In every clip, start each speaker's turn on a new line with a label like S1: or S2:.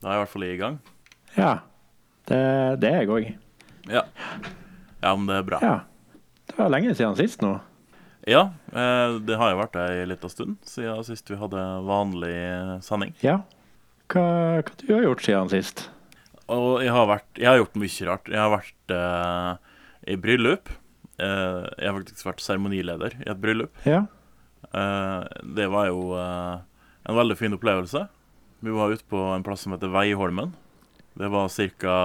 S1: Da er jeg i hvert fall i gang.
S2: Ja. Det, det er jeg òg.
S1: Ja. ja, men det er bra.
S2: Ja. Det var lenge siden sist nå.
S1: Ja, eh, det har jo vært ei lita stund siden sist vi hadde vanlig sending.
S2: Ja. Hva, hva du har gjort siden sist?
S1: Og jeg har, vært, jeg har gjort mye rart. Jeg har vært eh, i bryllup. Eh, jeg har faktisk vært seremonileder i et bryllup.
S2: Ja.
S1: Eh, det var jo eh, en veldig fin opplevelse. Vi var ute på en plass som heter Veiholmen. Det var ca.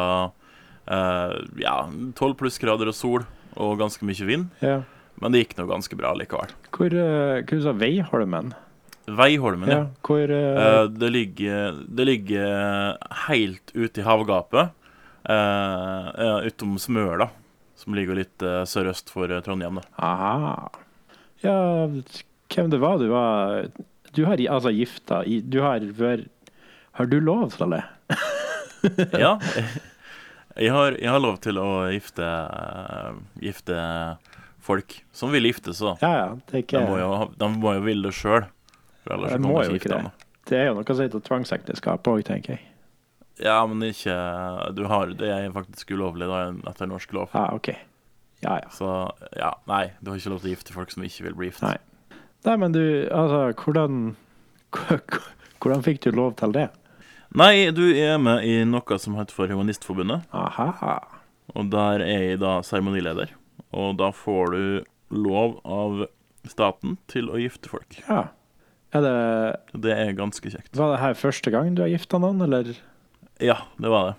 S1: Eh, ja, 12 plussgrader og sol og ganske mye vind.
S2: ja.
S1: Men det gikk nå ganske bra likevel.
S2: Hvor, eh, hva du sa Veiholmen?
S1: Veiholmen, ja.
S2: Ja, hvor eh,
S1: Eh, det, ligger, det ligger helt ute i havgapet, eh, eh, utom Smøla, som ligger litt eh, sørøst for eh, Trondheim. Da.
S2: Aha. Ja, hvem det var du var Du har i- altså gifta i Du har vært Har du lov til det?
S1: Ja. Jeg har, jeg har lov til å gifte, eh, gifte folk som vil gifte seg. da.
S2: Ja, ja. Det er, ikke,
S1: De må jo, ha- de må jo ville det sjøl. Ellers
S2: De
S1: så
S2: må
S1: kan de
S2: jo
S1: ikke
S2: ikke
S1: gifte dem. da.
S2: det er jo noe som heter tvangsekteskap òg, tenker jeg.
S1: Ja, men ikke du har, Det er faktisk ulovlig da, etter norsk lov.
S2: Ja, OK. Ja, ja.
S1: Så ja, nei, du har ikke lov til å gifte folk som ikke vil bli gift.
S2: Nei. Nei, men du, altså, hvordan Hvordan fikk du lov til det?
S1: Nei, du er med i noe som heter for Humanistforbundet,
S2: Aha.
S1: og der er jeg da seremonileder. Og da får du lov av staten til å gifte folk.
S2: Ja. Er det,
S1: Det er ganske kjekt.
S2: var det her første gang du har gifta noen, eller?
S1: Ja, det var det.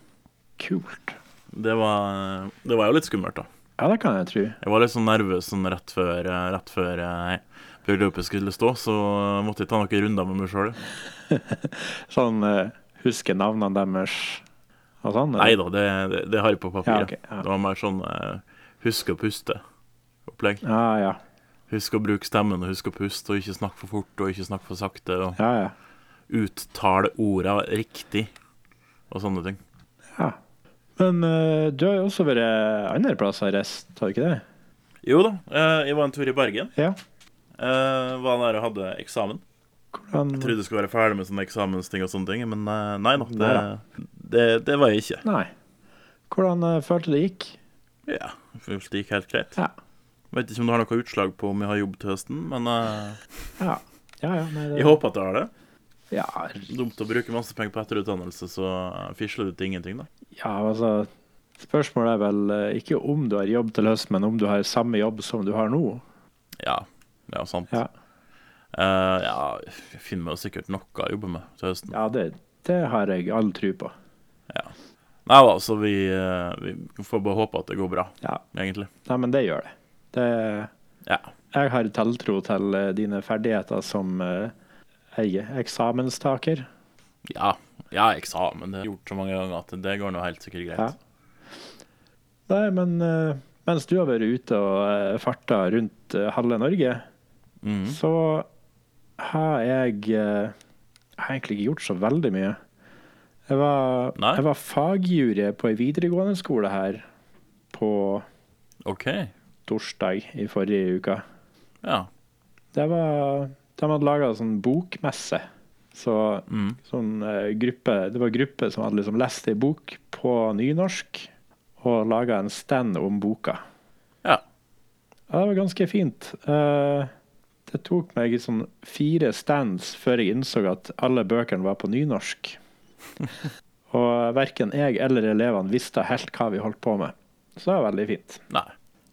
S2: Kult.
S1: Det var, det var jo litt skummelt, da.
S2: Ja, det kan jeg tro.
S1: Jeg var litt sånn nervøs sånn rett før, eh, rett før eh, bryllupet skulle stå, så måtte jeg ta noen runder med meg sjøl.
S2: Sånn eh, huske navnene deres og sånn?
S1: Nei
S2: eller?
S1: da, det, det, det har jeg på
S2: Ja,
S1: papiret.
S2: ok, ja.
S1: Det var mer sånn eh, husk å puste-opplegg.
S2: Ja, ja.
S1: Husk å bruke stemmen, og husk å puste, og ikke snakke for fort, og ikke snakke for sakte, og
S2: ja, ja.
S1: uttale orda riktig, og sånne ting.
S2: ja. Men eh, du har jo også vært andre plasser i rest, har du ikke det?
S1: Jo da, eh, jeg var en tur i Bergen.
S2: Ja.
S1: Eh, var der og hadde eksamen.
S2: Hvordan
S1: Jeg trodde jeg skulle være ferdig med sånne eksamensting og sånne ting, men eh, nei da, det,
S2: Neida.
S1: det, det var jeg ikke.
S2: Nei. Hvordan eh, følte det gikk?
S1: Ja, jeg følte det gikk helt greit.
S2: Ja.
S1: Vet ikke om det har noe utslag på om jeg har jobb til høsten, men eh,
S2: Ja, ja. ja nei, det,
S1: jeg håper at det har det.
S2: Ja,
S1: Dumt å bruke masse penger på etterutdannelse, så eh, fisler du til ingenting, da.
S2: ja, altså Spørsmålet er vel eh, ikke om du har jobb til høst, men om du har samme jobb som du har nå.
S1: Ja, det er sant.
S2: Ja,
S1: Eh, ja, jeg finner meg jo sikkert noe å jobbe med til høsten.
S2: ja det, det har jeg all tro på.
S1: Nei da, så vi, eh, vi får bare håpe at det går bra,
S2: Ja.
S1: egentlig.
S2: Nei, men det gjør det. Det
S1: Ja.
S2: Jeg har tiltro til eh, dine ferdigheter som eh, jeg er eksamenstaker.
S1: Ja, ja eksamen. Det har jeg gjort så mange ganger at det går nå helt sikkert greit.
S2: Ja. Nei, men eh, mens du har vært ute og eh, farta rundt eh, halve Norge,
S1: Mhm.
S2: så har jeg eh, har egentlig ikke gjort så veldig mye. Jeg var,
S1: Nei.
S2: jeg var fagjury på ei videregående skole her på
S1: OK.
S2: torsdag i forrige uke.
S1: Ja.
S2: Det var, de hadde laga sånn bokmesse. Så
S1: Mm.
S2: sånn eh, gruppe, det var gruppe som hadde liksom lest ei bok på nynorsk og laga en stand om boka.
S1: Ja.
S2: Ja, det var ganske fint. Eh, det tok meg sånn fire stands før jeg innså at alle bøkene var på nynorsk. og verken jeg eller elevene visste helt hva vi holdt på med. Så det var veldig fint.
S1: Nei.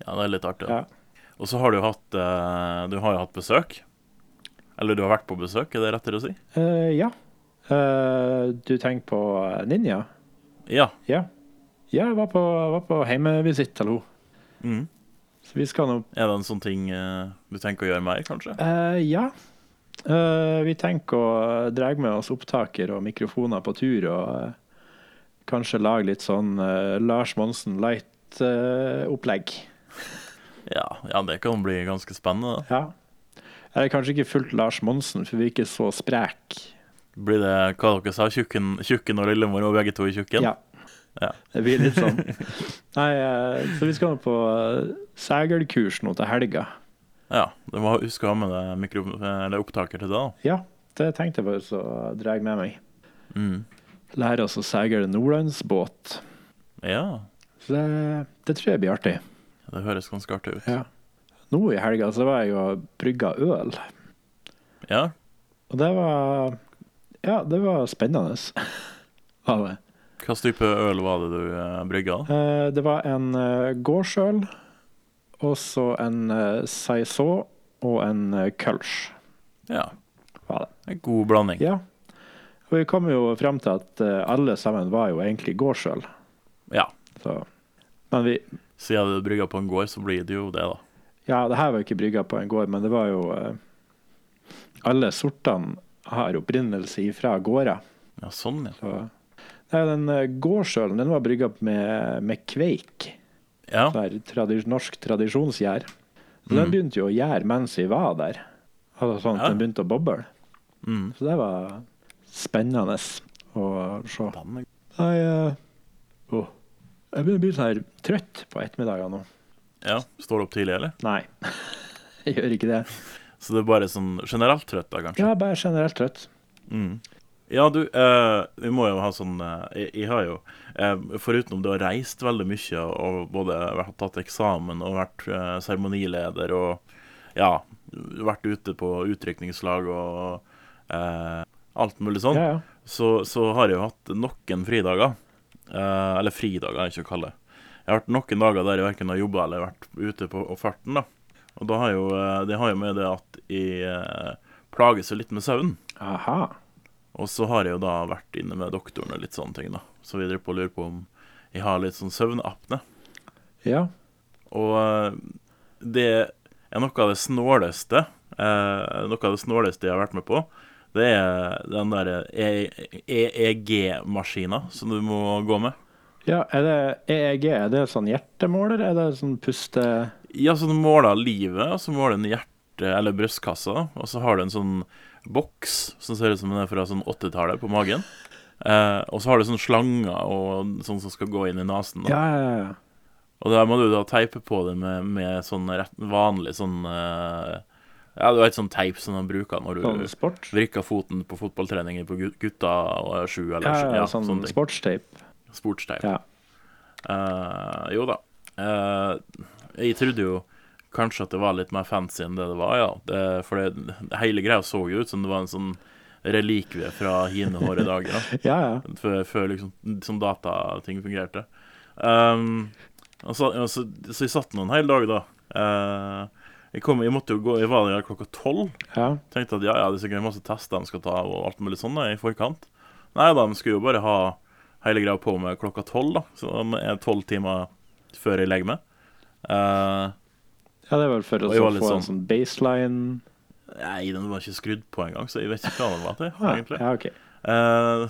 S1: Ja, det er litt artig. da.
S2: Ja.
S1: Og så har du hatt eh, Du har jo hatt besøk. Eller du har vært på besøk, er det rettere å si?
S2: Eh, ja. Eh, du tenker på Ninja?
S1: Ja.
S2: Ja. Ja, jeg var på, var på heimevisitt til henne.
S1: Mhm.
S2: Så vi skal nå
S1: Er det en sånn ting eh, du tenker å gjøre mer, kanskje?
S2: Eh, Ja. Eh, vi tenker å dra med oss opptaker og mikrofoner på tur, og eh, kanskje lage litt sånn eh, Lars Monsen eh, Light-opplegg.
S1: Ja, ja, det kan bli ganske spennende. da.
S2: ja. Eller kanskje ikke fullt Lars Monsen, for vi er ikke så sprek.
S1: Blir det hva dere sa, tjukken, tjukken og lillemor og begge to i tjukken?
S2: Ja.
S1: Ja.
S2: Det blir litt sånn. Nei, eh, så vi skal nå på eh, seilkurs nå til helga.
S1: Ja, du må huske å ha med deg mikro- eller opptaker til det. da.
S2: Ja, det tenkte jeg bare så drar jeg med meg.
S1: Mm.
S2: lære oss å seile nordlandsbåt.
S1: Ja,
S2: Så det, det tror jeg blir artig.
S1: det høres ganske artig ut.
S2: Ja. Nå i helga så var jeg jo og brygga øl,
S1: Ja,
S2: og det var Ja, det var spennende. Var det.
S1: Hva slags type øl var det du eh, brygga?
S2: Eh, Det var en eh, gårdsøl, og så en eh, saison og en eh, kölsch.
S1: Ja,
S2: Var det.
S1: en god blanding.
S2: Ja. Og vi kom jo frem til at eh, alle sammen var jo egentlig gårdsøl.
S1: Ja.
S2: Så. Men vi
S1: Siden du brygga på en gård, så blir det jo det, da.
S2: Ja, det her var jo ikke brygga på en gård, men det var jo eh, Alle sortene har opprinnelse ifra gårder.
S1: Ja, sånn, ja.
S2: Så. Nei, den eh, gårdsølen den var brygga opp med, med kveik,
S1: Ja,
S2: der tradi norsk tradisjonsgjær. Så den
S1: Mm.
S2: begynte jo å gjære mens vi var der, altså sånn at
S1: Ja.
S2: den begynte å boble.
S1: mm.
S2: Så det var spennende å se.
S1: Den er-
S2: Nei, eh, åh, jeg begynner å bli sånn her trøtt på ettermiddagen nå.
S1: ja. Står du opp tidlig, eller?
S2: Nei, jeg gjør ikke det.
S1: Så det er bare sånn generelt trøtt, da, kanskje?
S2: Jeg er bare generelt trøtt.
S1: Mm. Ja, du, eh, vi må jo ha sånn eh, jeg, jeg har jo, eh, forutenom det å ha reist veldig mye og både vært, tatt eksamen og vært eh, seremonileder og ja, vært ute på utrykningslag og eh, alt mulig sånn,
S2: Ja, ja.
S1: så, så har jeg jo hatt noen fridager. Eh, eller fridager, er ikke å kalle det. Jeg har hatt noen dager der jeg verken har jobba eller vært ute på og farten. da. Og da har jo, eh, det har jo med det at jeg eh, plages jo litt med søvnen.
S2: Aha.
S1: Og så har jeg jo da vært inne med doktoren og litt sånne ting, da. Så vi driver på og lurer på om jeg har litt sånn søvnapne.
S2: Ja.
S1: Og eh, det er noe av det snåleste eh, Noe av det snåleste jeg har vært med på. Det er den E- derre EEG-maskina som du må gå med.
S2: Ja, er det EEG? Er det sånn hjertemåler? Er det sånn puste...
S1: Ja, så du måler livet, og så måler den hjerte- eller brystkassa, og så har du en sånn boks som ser ut som den er fra sånn 80-tallet, på magen. Eh, og så har du sånne slanger og sånn som skal gå inn i nesen. da.
S2: Ja, ja, ja.
S1: Og der må du da teipe på det med, med sånn rett, vanlig sånn eh, Ja, du vet sånn teip som de bruker når du
S2: Sånn sport?
S1: vrikker foten på fotballtreninger på gut- gutta og er sju, eller
S2: Ja,
S1: ja,
S2: ja,
S1: sånn,
S2: sånn
S1: sånne ting.
S2: sportstape.
S1: Sportsteip.
S2: Ja.
S1: Eh, jo da. Eh, jeg trodde jo kanskje at det var litt mer fancy enn det det var, ja. Det, for det, hele greia så jo ut som det var en sånn relikvie fra hine hårde dager. da.
S2: Ja, ja.
S1: Før, før liksom, som datating fungerte. Ehm, og så, og så, så jeg satt noen hel dag, da. Eh, jeg, kom, jeg måtte jo gå, jeg var der klokka tolv.
S2: Ja,
S1: Tenkte at ja, ja, det er sikkert masse tester de skal ta og alt mulig sånn da, i forkant. Nei da, de skulle jo bare ha hele greia på med klokka tolv, da. Så de er tolv timer før jeg legger meg. Eh,
S2: ja det er vel for å
S1: Og jeg
S2: så
S1: var litt
S2: få
S1: sånn-
S2: en sånn baseline.
S1: nei, den var ikke skrudd på engang, så jeg vet ikke hva den var til,
S2: Ah,
S1: egentlig.
S2: ja, ok.
S1: Eh,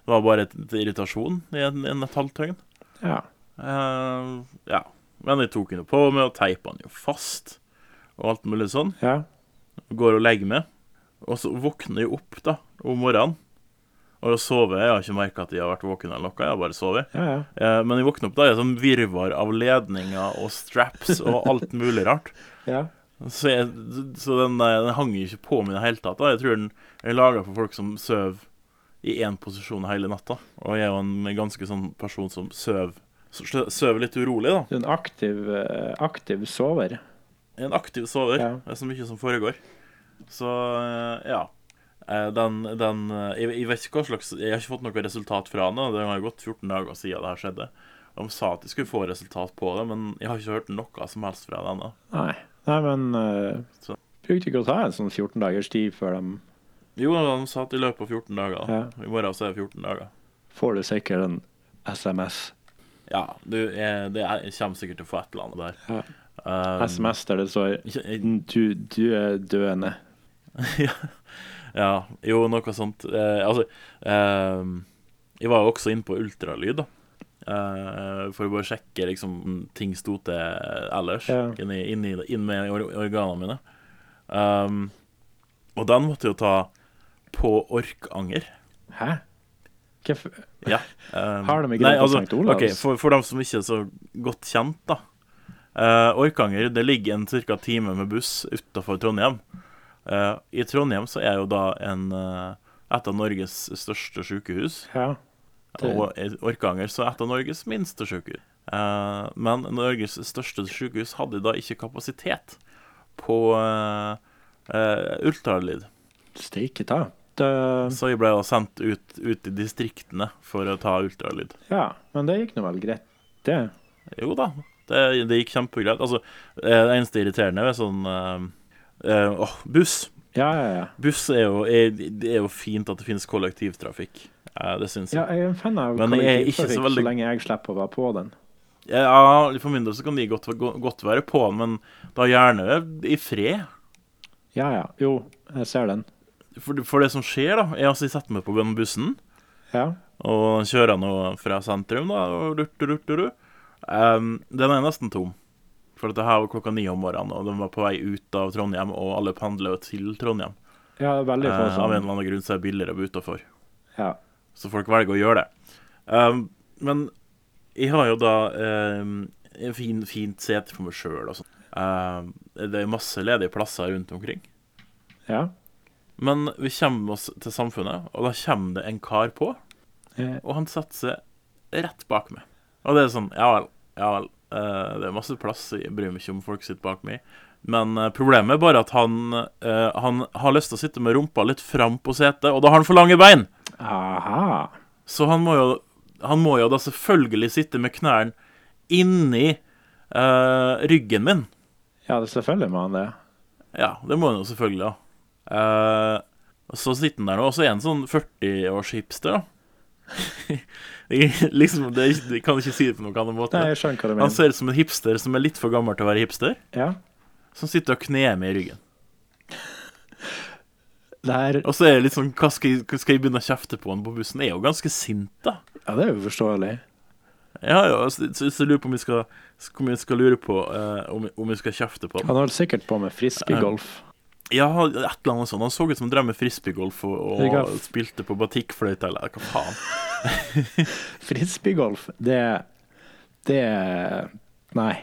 S1: det var bare et, et irritasjon i en, en et halvt døgn.
S2: Ja.
S1: Eh, ja. Men jeg tok den jo på med og teipa den jo fast, og alt mulig sånn.
S2: Ja.
S1: Går og legger meg. Og så våkner jeg opp da, om morgenen. Og da sover jeg. Jeg har ikke merka at jeg har vært våken eller noe. Jeg har bare sovet.
S2: Ja, ja.
S1: Eh, men jeg våkner opp da i et sånn virvar av ledninger og straps og alt mulig rart.
S2: Ja.
S1: Så, jeg, så den, eh, den hang jo ikke på meg i det hele tatt. da Jeg tror den er laga for folk som sover i én posisjon hele natta. Og jeg er jo en ganske sånn person som sover Sover litt urolig, da.
S2: Du er en aktiv, eh, aktiv sover.
S1: En aktiv sover.
S2: Ja.
S1: Det er så mye som foregår. Så eh, ja. Eh, Den, den eh, jeg, jeg vet ikke hva slags Jeg har ikke fått noe resultat fra den. da. Det har jo gått 14 dager siden det her skjedde. De sa at de skulle få resultat på det, men jeg har ikke hørt noe som helst fra den. da.
S2: Nei. Nei, men uh,
S1: Så.
S2: brukte ikke å ta en sånn 14 dagers tid før de
S1: Jo, de sa at i løpet av 14 dager. da. I morgen så er det 14 dager.
S2: får du sikkert en SMS.
S1: Ja, du, jeg, det er, jeg kommer sikkert til å få et eller annet der. Um,
S2: SMS der det står
S1: ikke- jeg-
S2: du, du er døende.
S1: Ja, jo, noe sånt. Eh, altså eh, Jeg var jo også inne på ultralyd, da. Eh, for å bare sjekke liksom om ting sto til ellers,
S2: Ja.
S1: inni, inni, inn med or organene mine. Um, og den måtte jeg jo ta på orkanger.
S2: Hæ? Hvorfor
S1: Ja. Um,
S2: Har de ikke
S1: nei,
S2: den på St. Olavs?
S1: ok, for, for dem som ikke er så godt kjent, da. Eh, Orkanger det ligger en ca. time med buss utafor Trondheim. Eh, I Trondheim så er jo da en, eh, et av Norges største sykehus.
S2: Ja.
S1: Og i Orkanger så er et av Norges minste sykehus. Eh, men Norges største sykehus hadde da ikke kapasitet på eh, eh, ultralyd.
S2: Steike ta. Det-
S1: Så jeg ble da sendt ut, ut i distriktene for å ta ultralyd.
S2: Ja, men det gikk nå vel greit, det.
S1: Jo da, det, det gikk kjempegreit. Altså, eh, det eneste irriterende er sånn eh, eh, Åh, buss.
S2: Ja, ja, ja.
S1: Buss er jo, er, det er jo fint at det finnes kollektivtrafikk. Eh, det syns jeg.
S2: Ja, jeg er en fan av
S1: Men jeg er ikke så
S2: kollektivtrafikk så
S1: veldig-
S2: lenge jeg slipper å være på den.
S1: Ja, for min del så kan de godt, godt være på den, men da gjerne i fred.
S2: Ja, ja. Jo, jeg ser den.
S1: For, for det som skjer, da, er altså jeg setter meg på den bussen,
S2: Ja.
S1: og den kjører nå fra sentrum, da, og rurt, rurt, rurt. Ehm, den er nesten tom. For dette her var klokka ni om morgenen, og den var på vei ut av Trondheim, og alle pendler jo til Trondheim.
S2: ja det er veldig få
S1: Eh, av en
S2: sånn.
S1: eller annen grunn så er det billigere å bo utafor.
S2: Ja.
S1: Så folk velger å gjøre det. Ehm, men jeg har jo da um, en fin, fint sete for meg sjøl og sånn. Ehm, det er masse ledige plasser rundt omkring.
S2: ja.
S1: Men vi kommer oss til Samfunnet, og da kommer det en kar på,
S2: Eh,
S1: og han setter seg rett bak meg. Og det er sånn Ja vel, ja vel. eh, det er masse plass, jeg bryr meg ikke om folk sitter bak meg. Men eh, problemet er bare at han, eh, han har lyst til å sitte med rumpa litt fram på setet, og da har han for lange bein!
S2: Aha.
S1: Så han må jo, han må jo da selvfølgelig sitte med knærne inni eh, ryggen min.
S2: Ja, det selvfølgelig må han det.
S1: Ja, det må han jo selvfølgelig, da. Eh, og så sitter han der nå, og så er han sånn 40-års-hipster, da. Jeg- liksom, det, er ikke- jeg kan ikke si det på noen annen
S2: Nei,
S1: måte.
S2: jeg skjønner hva du
S1: Han
S2: mener.
S1: ser ut som en hipster som er litt for gammel til å være hipster,
S2: Ja.
S1: som sitter og kner meg i ryggen.
S2: Det er,
S1: Og så er jeg litt sånn Hva skal jeg, hva skal jeg begynne å kjefte på han på bussen? Jeg er jo ganske sint, da.
S2: ja, det er jo forståelig.
S1: Ja, ja, så, så så jeg lurer på om jeg skal, om jeg skal lure på eh, om, jeg- om jeg skal kjefte på han.
S2: Han holder sikkert på med frisbeegolf.
S1: Eh. Ja, et eller annet sånt. Han så ut som han drev med frisbeegolf og,
S2: Jeg
S1: og
S2: har-
S1: spilte på batikkfløyte, eller hva faen.
S2: Frisbeegolf, det Det Nei.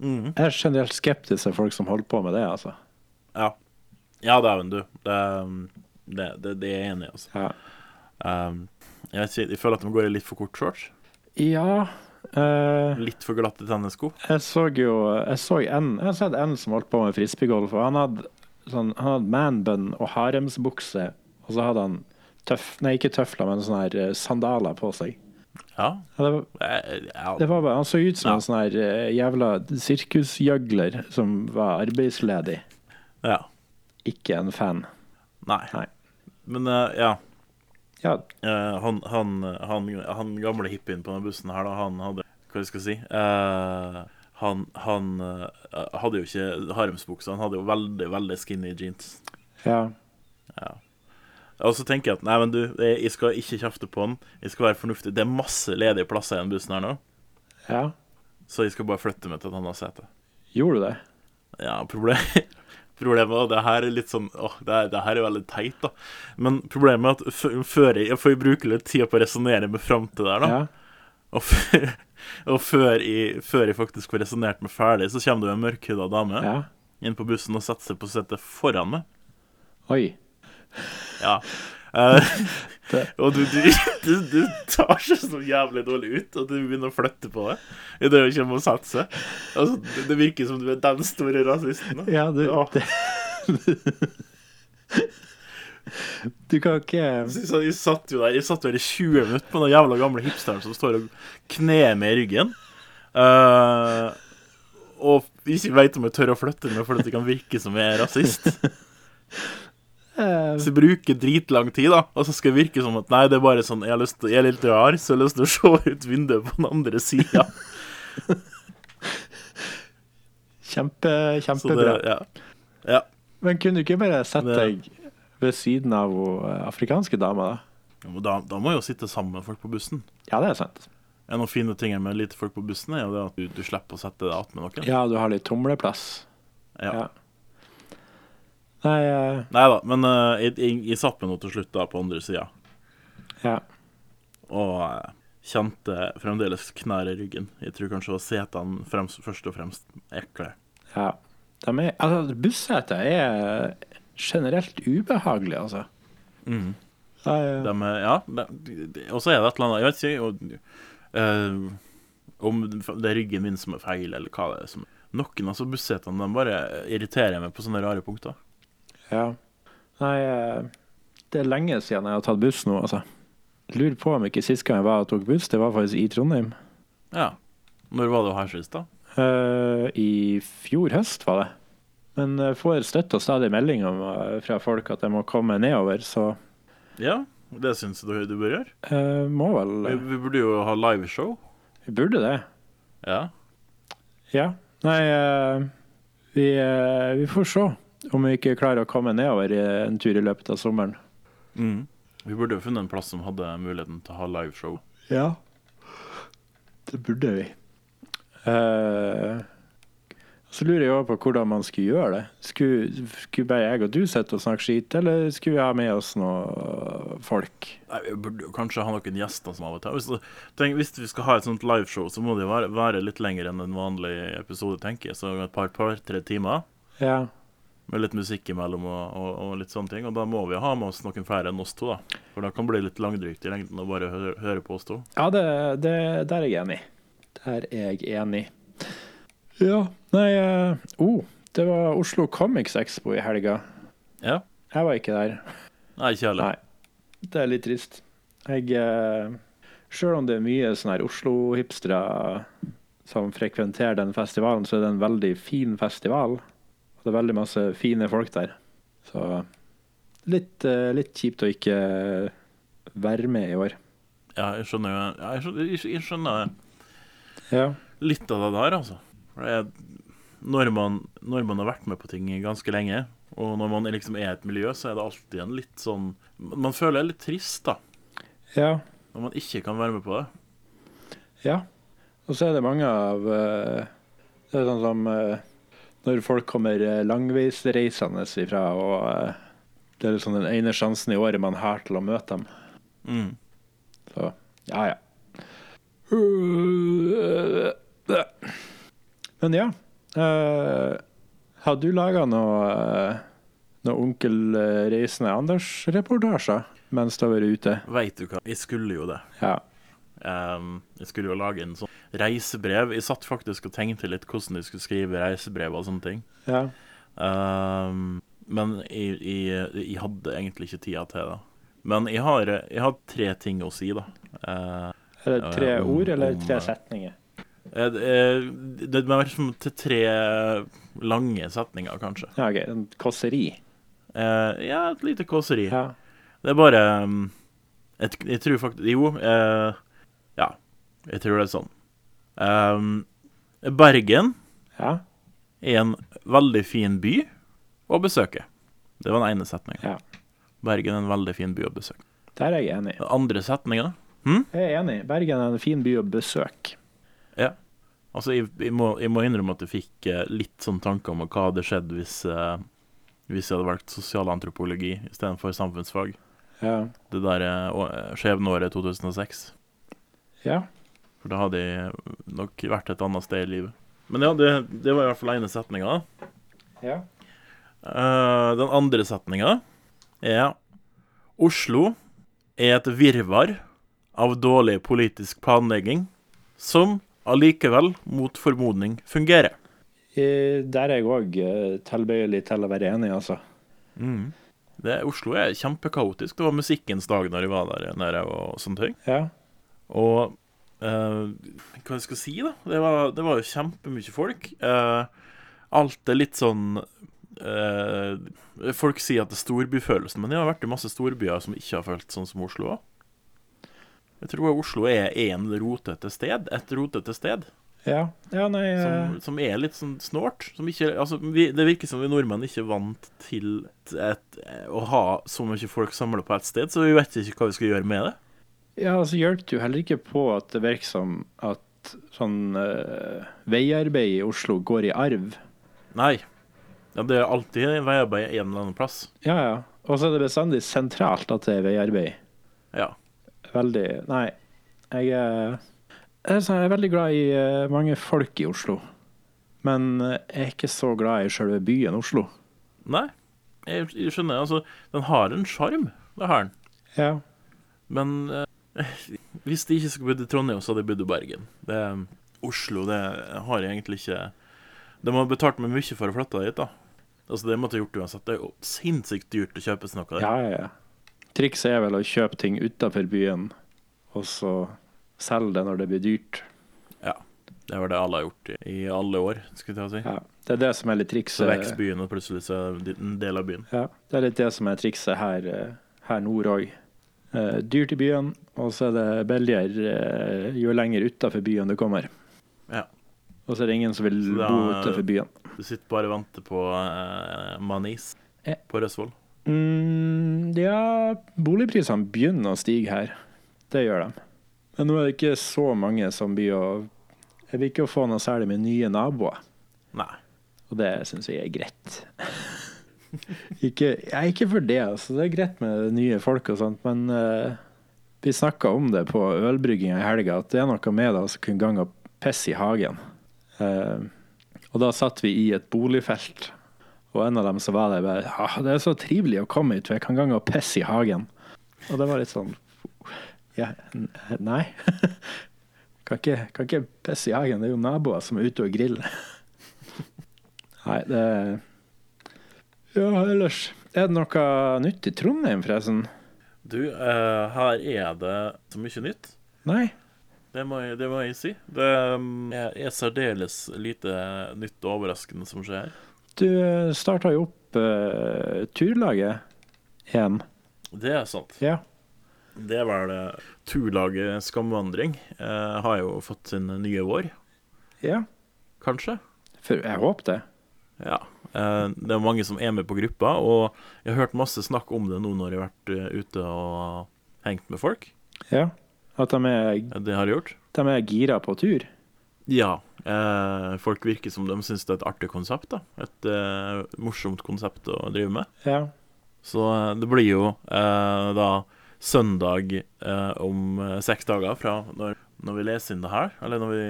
S1: Mhm.
S2: Jeg er generelt skeptisk til folk som holder på med det, altså.
S1: Ja. Ja, dæven, du. Det, um, det, det, det er jeg enig i, altså.
S2: Ja.
S1: Um, jeg, vet ikke, jeg føler at de går i litt for kort shorts.
S2: ja eh,
S1: Litt for glatte tennissko.
S2: Jeg så jo Jeg så en Jeg har sett en som holdt på med frisbeegolf, og han hadde sånn Han hadde manbun og haremsbukse, og så hadde han tøff... Nei, ikke tøfler, men sånne her eh, sandaler på seg.
S1: Ja.
S2: Ja, det, var-
S1: eh, ja.
S2: det var bare Han så ut som
S1: Ja.
S2: en sånn her eh, jævla sirkusgjøgler som var arbeidsledig.
S1: ja.
S2: Ikke en fan.
S1: Nei.
S2: Nei.
S1: Men eh, ja.
S2: Ja,
S1: Eh, han, han, han, han gamle hippien på den bussen her, da, han hadde Hva jeg skal jeg si? Eh, han han eh, hadde jo ikke haremsbukse, han hadde jo veldig, veldig skinny jeans.
S2: ja.
S1: Og så tenker jeg at nei, men du, jeg jeg skal ikke kjefte på han. Jeg skal være fornuftig. Det er masse ledige plasser i den bussen her nå,
S2: ja.
S1: så jeg skal bare flytte meg til et annet sete.
S2: Gjorde du det?
S1: Ja, problem, problemet Og det her er litt sånn Åh, det, her- det her er veldig teit, da. Men problemet er at f- før jeg For jeg bruker litt tid på å resonnere meg fram til det her, da.
S2: Ja.
S1: Og, f- og før, jeg, før jeg faktisk får resonnert meg ferdig, så kommer det jo en mørkhuda dame
S2: ja.
S1: inn på bussen og setter seg på setet foran meg.
S2: Oi.
S1: Ja. Eh, og du, du, du, du tar seg så jævlig dårlig ut at du begynner å flytte på det idet hun kommer og setter seg. Altså, det, det virker som du er den store rasisten. Da.
S2: Ja, du
S1: Åh.
S2: det, Du kan ikke
S1: Så- så Jeg satt jo der jeg satt jo der i 20 minutter med den jævla gamle hipsteren som står og kner meg i ryggen. Eh, og ikke veit om jeg tør å flytte meg fordi det kan virke som jeg er rasist.
S2: eh,
S1: Så jeg bruker dritlang tid, da, og så skal jeg virke som at nei, det er bare sånn Jeg, har lyst til, jeg er litt rar, så jeg har lyst til å se ut vinduet på den andre sida.
S2: Kjempe,
S1: Så
S2: kjempebra.
S1: det Ja. ja.
S2: Men kunne du ikke bare sett
S1: Det-
S2: deg ved siden av hun eh, afrikanske dama, da?
S1: Ja, men Da, da må jo sitte sammen folk på bussen.
S2: Ja, det er sant.
S1: En av fine tingene med lite folk på bussen er jo det at du, du slipper å sette deg attmed noen.
S2: Ja, du har litt tumleplass.
S1: Ja.
S2: Ja. Nei, eh,
S1: Nei da, men eh, jeg, jeg, jeg satt meg nå til slutt da på andre sida
S2: ja.
S1: og eh, kjente fremdeles knær i ryggen. Jeg tror kanskje det var setene fremst, først og fremst ekle.
S2: ja. De er, altså, busseter er generelt ubehagelige, altså. Nei, ja.
S1: De, er- ja, de, de, og så er det et eller annet Jeg vet ikke og, eh, om det er ryggen min som er feil, eller hva det er som Noen av så bussetene de bare irriterer meg på sånne rare punkter.
S2: ja. Nei, eh, det er lenge siden jeg har tatt buss nå, altså. Lurer på om ikke sist gang jeg var og tok buss, det var faktisk i Trondheim.
S1: Ja. Når var det her sist, da?
S2: Eh, I fjor høst var det. Men jeg får støtt og stadig meldinger om- eh, fra folk at jeg må komme nedover, så
S1: Ja, det syns jeg du, du bør gjøre.
S2: eh, må vel
S1: Vi, vi burde jo ha liveshow.
S2: Vi burde det.
S1: Ja.
S2: Ja. Nei, eh, vi, eh, vi får se om vi ikke klarer å komme nedover i eh, en tur i løpet av sommeren.
S1: Mm. Vi burde jo funnet en plass som hadde muligheten til å ha liveshow.
S2: Ja. Det burde vi. Eh, så lurer jeg også på hvordan man skulle gjøre det. Skulle, skulle bare jeg og du sitte og snakke skit, eller skulle vi ha med oss noen folk?
S1: Nei, vi burde jo kanskje ha noen gjester som av og til hvis, tenk, hvis vi skal ha et sånt liveshow, så må det jo være, være litt lenger enn en vanlig episode, tenker jeg. Så et par, par tre timer
S2: Ja.
S1: med litt musikk imellom og, og, og litt sånne ting. Og da må vi ha med oss noen flere enn oss to, da. For da kan det bli litt langdrygt i lengden å bare høre, høre på oss to.
S2: Ja, det, det, der er jeg enig. Der er jeg enig. Ja, nei eh, oh, det var Oslo Comics Expo i helga.
S1: Ja.
S2: Jeg var ikke der.
S1: Nei, ikke heller.
S2: Nei. Det er litt trist. Jeg eh, Sjøl om det er mye sånne her Oslo-hipstere som frekventerer den festivalen, så er det en veldig fin festival. Og det er veldig masse fine folk der. Så litt, eh, litt kjipt å ikke være med i år.
S1: Ja, jeg skjønner jo ja, jeg, skjønner, jeg skjønner- jeg skjønner
S2: Ja.
S1: litt av det der, altså. For det er, når, man, når man har vært med på ting ganske lenge, og når man liksom er i et miljø, så er det alltid en litt sånn Man føler det er litt trist, da,
S2: ja.
S1: når man ikke kan være med på det.
S2: Ja. Og så er det mange av eh, Det er sånn som eh, når folk kommer eh, langveisreisende ifra, og eh, det er liksom den ene sjansen i året man har til å møte dem.
S1: Mm.
S2: Så ja, ja. Men ja. eh, har du laga noe, eh, noe Onkel eh, Reisende Anders-reportasjer mens du har vært ute?
S1: Veit du hva, jeg skulle jo det.
S2: Ja.
S1: Ehm, jeg skulle jo lage en sånn reisebrev. Jeg satt faktisk og tenkte litt hvordan jeg skulle skrive reisebrev og sånne ting.
S2: ja.
S1: Ehm, men jeg, jeg, jeg hadde egentlig ikke tida til det. Men jeg har, jeg har tre ting å si, da. Eh,
S2: Er
S1: Ja,
S2: det tre
S1: ja, om-
S2: ord eller
S1: om, eh,
S2: tre setninger?
S1: Eh, eh, Det må være som til tre lange setninger, kanskje.
S2: Ja, ok. En kåseri.
S1: Eh, ja, et lite kåseri.
S2: Ja.
S1: Det er bare um, et, Jeg tror faktisk Jo, eh, ja. Jeg tror det er sånn. Um, Bergen
S2: Ja.
S1: er en veldig fin by å besøke. Det var den ene setningen.
S2: Ja.
S1: Bergen er en veldig fin by å besøke.
S2: Der er jeg enig.
S1: Den andre setningen
S2: Jeg er enig. Bergen er en fin by å besøke.
S1: Altså, jeg, jeg, må, jeg må innrømme at jeg fikk eh, litt sånn tanker om hva hadde skjedd hvis, eh, hvis jeg hadde valgt sosialantropologi istedenfor samfunnsfag.
S2: Ja.
S1: det der eh, å- eh, skjebneåret 2006.
S2: ja.
S1: For da hadde jeg nok vært et annet sted i livet. Men ja, det, det var i hvert fall ene setninga.
S2: ja.
S1: Eh, den andre setninga er Oslo er et virvar av dårlig politisk planlegging som allikevel, mot formodning, fungerer.
S2: Eh, Der er jeg òg tilbøyelig til å være enig, altså.
S1: Det, Oslo er kjempekaotisk. Det var musikkens dag når jeg var der nede og sånne ting.
S2: Ja.
S1: Og eh, hva jeg skal si, da? Det var, det var jo kjempemye folk. Eh, alt er litt sånn eh, Folk sier at det er storbyfølelsen, men det har vært i masse storbyer som ikke har følt sånn som Oslo òg. Jeg tror Oslo er en rotete sted, et rotete sted,
S2: Ja, ja nei eh,
S1: som, som er litt sånn snålt. Som ikke, altså, vi, det virker som vi nordmenn ikke er vant til et, å ha så mye folk samla på ett sted, så vi vet ikke hva vi skal gjøre med det.
S2: Ja, altså hjelper det jo heller ikke på at det virker som at sånn eh, veiarbeid i Oslo går i arv.
S1: Nei. Ja, det er alltid veiarbeid en eller annen plass.
S2: Ja, ja. Og så er det bestandig sentralt at det er veiarbeid.
S1: Ja.
S2: Veldig Nei. Jeg er, jeg er sånn- jeg er veldig glad i eh, mange folk i Oslo. Men eh, jeg er ikke så glad i selve byen Oslo.
S1: Nei, jeg, jeg skjønner. Altså, den har en sjarm. Det har den.
S2: Ja.
S1: Men eh, hvis de ikke skulle bodd i Trondheim, så hadde jeg bodd i Bergen. Det, Oslo det har jeg egentlig ikke De har betalt meg mye for å flytte dit, da. Altså Det måtte jeg gjort uansett. Det er jo sinnssykt dyrt å kjøpe seg noe der.
S2: ja, ja, ja. Trikset er vel å kjøpe ting utafor byen, og så selge det når det blir dyrt.
S1: Det var det alle har gjort i, i alle år, skulle jeg til å si.
S2: Ja. Det er det som er litt
S1: Så vokser
S2: trikset.
S1: byen, og plutselig så er det en del av byen.
S2: Ja, det er litt det som er trikset her, eh, her nord òg. Eh, dyrt i byen, og så er det billigere eh, jo lenger utafor byen du kommer.
S1: Ja.
S2: Og så er det ingen som vil
S1: Så da-
S2: bo utafor byen.
S1: Du sitter bare og venter på eh, manis
S2: Ja.
S1: på Røsvoll.
S2: Mm, ja, boligprisene begynner å stige her. Det gjør de. Men nå er det ikke så mange som blir å Jeg vil ikke få noe særlig med nye naboer,
S1: Nei.
S2: og det syns jeg er greit. ikke, jeg er ikke for det, altså. Det er greit med nye folk og sånt, men eh, vi snakka om det på ølbrygginga i helga, at det er noe med det å kunne gange og pisse i hagen. Eh, og da satt vi i et boligfelt. Og en av dem som var der, bare ah, Det er så trivelig å komme hit, for jeg kan gange og pisse i hagen. Og det var litt sånn Ja, n- nei. Kan ikke, kan ikke pisse i hagen. Det er jo naboer som er ute og griller. Nei, det Ja, ellers Er det noe nytt i Trondheim, forresten?
S1: Du, eh, her er det så mye nytt.
S2: Nei?
S1: Det må jeg, det må jeg si. Det um, er er særdeles lite nytt og overraskende som skjer her.
S2: Du starta jo opp eh, turlaget igjen.
S1: Det er sant.
S2: Ja.
S1: Det er vel eh, turlaget Skamvandring. eh, har jo fått sin nye vår,
S2: ja.
S1: kanskje.
S2: For jeg håper det.
S1: Ja. Eh, det er mange som er med på gruppa, og jeg har hørt masse snakk om det nå når jeg har vært eh, ute og hengt med folk.
S2: Ja. At de er,
S1: Det har jeg gjort.
S2: de er gira på tur.
S1: Ja. eh, folk virker som de syns det er et artig konsept. da Et eh, morsomt konsept å drive med.
S2: Ja.
S1: Så eh, det blir jo eh, da søndag eh, om eh, seks dager fra når, når vi leser inn det her, eller når vi,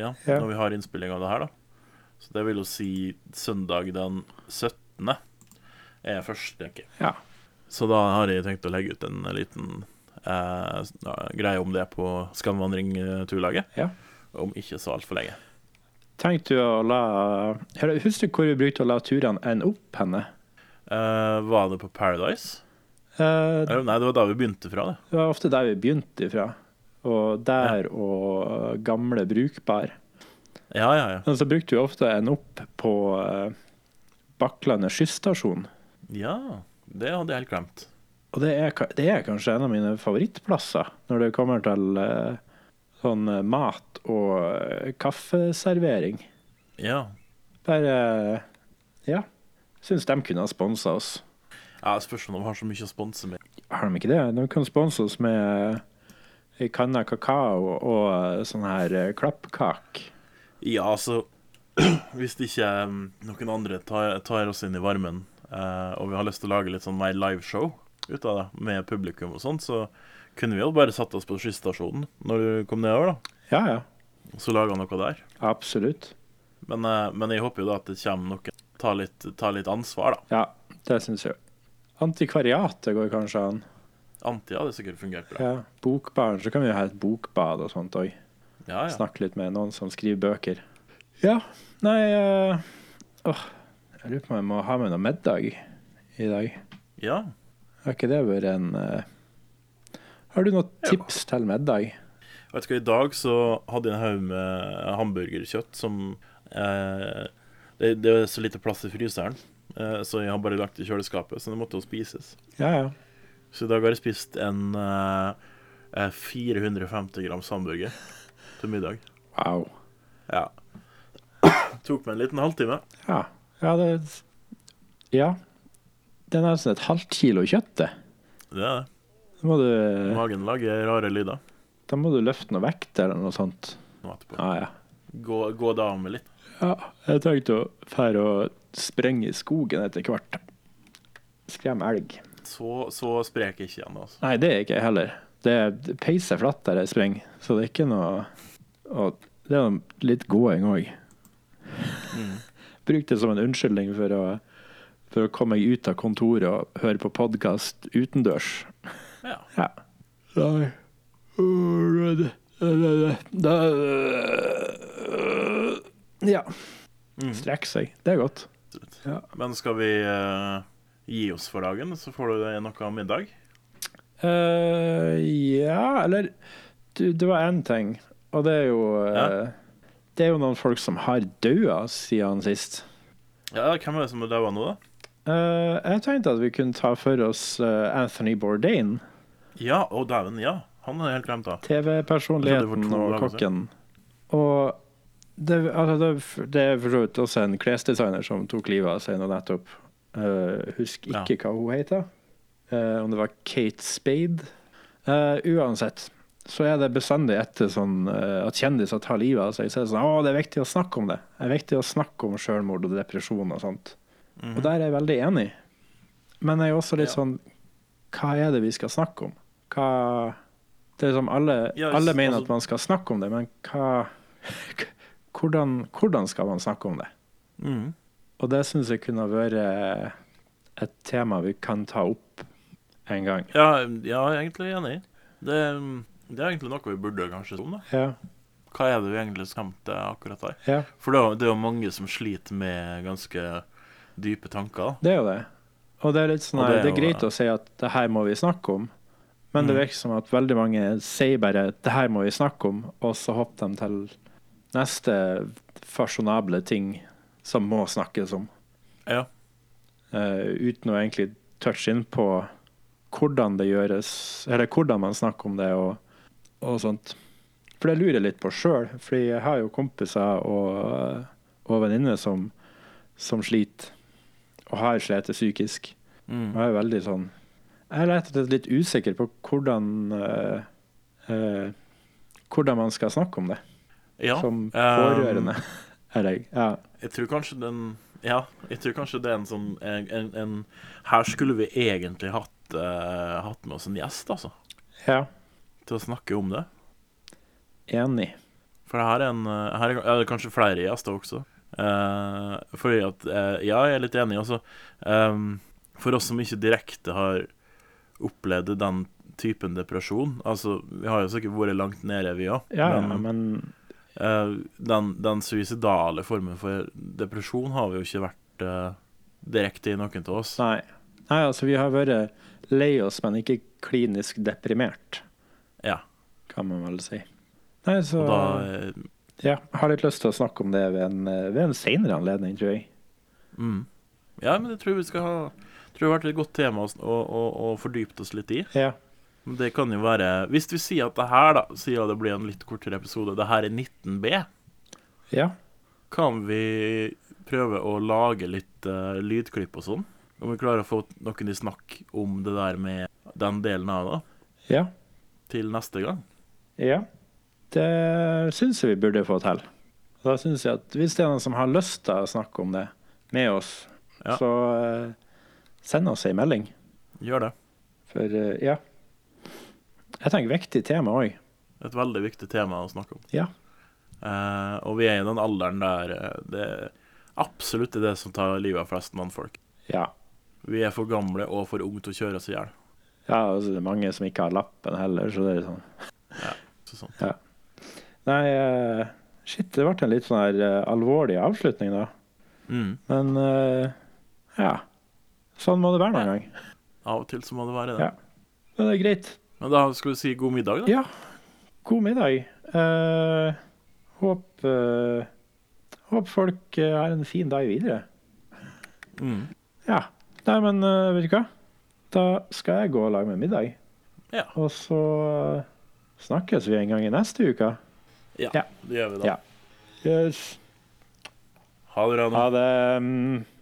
S1: ja,
S2: Ja.
S1: når vi har innspilling av det her, da. Så det vil jo si søndag den 17. er første uke.
S2: Ja.
S1: Så da har jeg tenkt å legge ut en liten eh, s- ja, greie om det på Skamvandring-turlaget.
S2: Ja.
S1: Om ikke så altfor lenge.
S2: Tenkte du å la Eller, Husker du hvor vi brukte å la turene ende opp henne?
S1: Eh, var det på Paradise?
S2: Eh,
S1: Eller, nei, det var da vi begynte fra, det.
S2: det var ofte der vi begynte ifra. Og der og gamle brukbar.
S1: Ja, ja, ja.
S2: Men så brukte vi ofte en opp på eh, Bakklandet skysstasjon.
S1: Ja, Det hadde jeg helt glemt.
S2: Og det er, ka- det er kanskje en av mine favorittplasser når det kommer til eh, sånn eh, mat og eh, kaffeservering.
S1: Ja,
S2: Bare eh, Ja. Syns de kunne ha sponsa oss.
S1: Ja, Spørs om de har så mye å sponse med.
S2: Har de ikke det? De kan sponse oss med ei kanne kakao og sånn her eh, klappkak.
S1: Ja, altså Hvis ikke um, noen andre tar, tar oss inn i varmen, eh, og vi har lyst til å lage litt sånn mer liveshow ut av det, med publikum og sånn, så kunne vi jo bare satt oss på skysstasjonen når du kom nedover, da.
S2: Ja, ja.
S1: og Så laga noe der.
S2: Absolutt.
S1: Men, eh, men jeg håper jo da at det kommer noen Ta litt, ta litt ansvar, da.
S2: Ja, det syns jeg. Antikvariatet går kanskje an.
S1: Anti hadde sikkert fungert bra.
S2: Ja. Bokbaren, så kan vi jo ha et bokbad og sånt òg.
S1: Ja, ja.
S2: Snakke litt med noen som skriver bøker. Ja, nei eh, Åh, jeg lurer på om jeg må ha med noe middag i dag.
S1: ja.
S2: Har ikke det vært en eh, Har du noen
S1: Jo.
S2: tips til middag?
S1: Vet du hva, I dag så hadde jeg en haug med hamburgerkjøtt som eh, det, det er så lite plass i fryseren, eh, så jeg har bare lagt det i kjøleskapet. Så det måtte jo spises.
S2: Ja, ja.
S1: Så i dag har jeg spist en eh, eh, 450 grams hamburger til middag.
S2: Wow.
S1: Ja. Tok meg en liten halvtime.
S2: Ja. Ja, det Ja. Det er nesten et halvt kilo kjøtt, det.
S1: Det er det.
S2: Da må du,
S1: Magen lager rare lyder
S2: da må du løfte noe vekt eller noe sånt.
S1: nå etterpå.
S2: Ja, ja.
S1: Gå, gå da av med litt.
S2: Ja, jeg tenkte å fære og sprenge i skogen etter hvert. Skremme elg.
S1: Så, så sprek jeg ikke igjen, altså.
S2: Nei, det er ikke jeg heller. Det er det peiser flatt der jeg springer, så det er ikke noe og Det er jo litt gåing òg. Mm. Bruk det som en unnskyldning for å, for å komme meg ut av kontoret og høre på podkast utendørs.
S1: Ja.
S2: Ja. Nei. Ja.
S1: Mm.
S2: Strekke seg. Det er godt.
S1: Absolutt.
S2: Ja.
S1: Men skal vi eh, gi oss for dagen, så får du deg noe middag?
S2: Eh, ja, eller du, Det var én ting, og det er jo eh, Det er jo noen folk som har daua siden sist.
S1: Ja, Hvem er det som er daua nå, da?
S2: Eh, jeg tenkte at vi kunne ta for oss eh, Anthony Bourdain.
S1: Ja, å dæven, ja. Han er helt glemt av. Jeg trodde
S2: TV-personligheten
S1: det var to
S2: og
S1: dager
S2: kokken. Og det, altså det, det er for så vidt også en klesdesigner som tok livet av seg nå nettopp. Eh, husk
S1: Ja.
S2: ikke hva hun heter. Eh, om det var Kate Spade. Eh, uansett så er det bestandig etter sånn eh, at kjendiser tar livet av seg. Så er det sånn Å, det er viktig å snakke om det. Det er viktig å snakke om sjølmord og depresjon og sånt. Og der er jeg veldig enig. Men jeg er også litt
S1: Mhm. Ja.
S2: sånn Hva er det vi skal snakke om? Hva Det er liksom alle,
S1: Ja, hvis-
S2: alle mener
S1: altså-
S2: at man skal snakke om det, men hva Hvordan, hvordan skal man snakke om det?
S1: Mhm.
S2: Og det syns jeg kunne vært et tema vi kan ta opp en gang.
S1: Ja, ja, jeg er egentlig enig. Det, det er egentlig noe vi burde kanskje snakke om. da.
S2: Ja.
S1: Hva er det vi egentlig skamte akkurat der?
S2: ja.
S1: For det er, jo- det er jo mange som sliter med ganske dype tanker.
S2: Det er jo det. Og det er litt sånn
S1: Og
S2: her,
S1: det er
S2: det er
S1: jo-
S2: greit å si at det her må vi snakke om, men det
S1: Mm.
S2: virker som at veldig mange sier bare det her må vi snakke om, og så hopper de til neste fasjonable ting som må snakkes om.
S1: Ja.
S2: Eh, uten å egentlig touche inn på hvordan det gjøres, eller hvordan man snakker om det og, og sånt. For det lurer jeg litt på sjøl, fordi jeg har jo kompiser og, og venninner som, som sliter, og har slitt psykisk.
S1: Mm.
S2: Jeg er jo veldig sånn Jeg er rett og slett litt usikker på hvordan eh, eh, Hvordan man skal snakke om det
S1: Ja.
S2: som
S1: eh,
S2: pårørende. Eller, ja.
S1: Jeg tror kanskje den Ja, jeg tror kanskje det er en sånn en, en, en, Her skulle vi egentlig hatt, eh, hatt med oss en gjest, altså.
S2: ja.
S1: Til å snakke om det.
S2: Enig.
S1: For det her er en eh, Her er det kanskje flere gjester også. Eh, fordi at eh, Ja, jeg er litt enig, altså. Ehm, for oss som ikke direkte har opplevd den typen depresjon Altså, vi har jo sikkert vært langt nede, vi òg.
S2: Ja, ja, men
S1: Eh, den, den suicidale formen for depresjon har vi jo ikke vært eh, direkte i noen av oss.
S2: nei. nei. Altså, vi har vært lei oss, men ikke klinisk deprimert,
S1: Ja,
S2: kan man vel si. Nei, så
S1: og da eh,
S2: Ja, har litt lyst til å snakke om det ved en, eh, ved en senere anledning, tror jeg.
S1: mm. Ja, men jeg tror vi skal ha tror det har vært et godt tema å, sn- å, å, å fordype oss litt i.
S2: Ja.
S1: Men det kan jo være Hvis vi sier at det her, da, sier at det blir en litt kortere episode, det her er 19B,
S2: ja.
S1: kan vi prøve å lage litt eh, lydklipp og sånn? Om vi klarer å få noen i snakk om det der med den delen av det,
S2: Ja.
S1: til neste gang.
S2: Ja, det syns jeg vi burde få til. Da synes jeg at Hvis det er noen som har lyst til å snakke om det med oss,
S1: Ja.
S2: så eh, send oss ei melding.
S1: Gjør det.
S2: For eh, ja Jeg tenker viktig tema òg.
S1: Et veldig viktig tema å snakke om.
S2: Ja.
S1: Eh, og vi er i den alderen der eh, det absolutt er det som tar livet av flest mannfolk.
S2: Ja.
S1: Vi er for gamle og for unge til å kjøre oss i hjel.
S2: ja, altså det er mange som ikke har lappen heller, så det er sånn
S1: Så sånn.
S2: Nei, eh, shit, det ble en litt sånn her eh, alvorlig avslutning, da.
S1: Mm.
S2: Men eh, ja. Sånn må det være noen
S1: Ja.
S2: gang.
S1: Av og til så må det være det.
S2: Ja. Men det er greit.
S1: Men da skal vi si god middag, da.
S2: Ja, god middag. Eh, håp, eh, håp folk eh, har en fin dag videre.
S1: Mm.
S2: Ja. Nei, men eh, vet du hva? Da skal jeg gå og lage meg middag.
S1: Ja.
S2: Og så eh, snakkes vi en gang i neste uke.
S1: Ja,
S2: Ja.
S1: det gjør vi da.
S2: Ja. Yes.
S1: Ha det bra nå.
S2: Ha det. mm.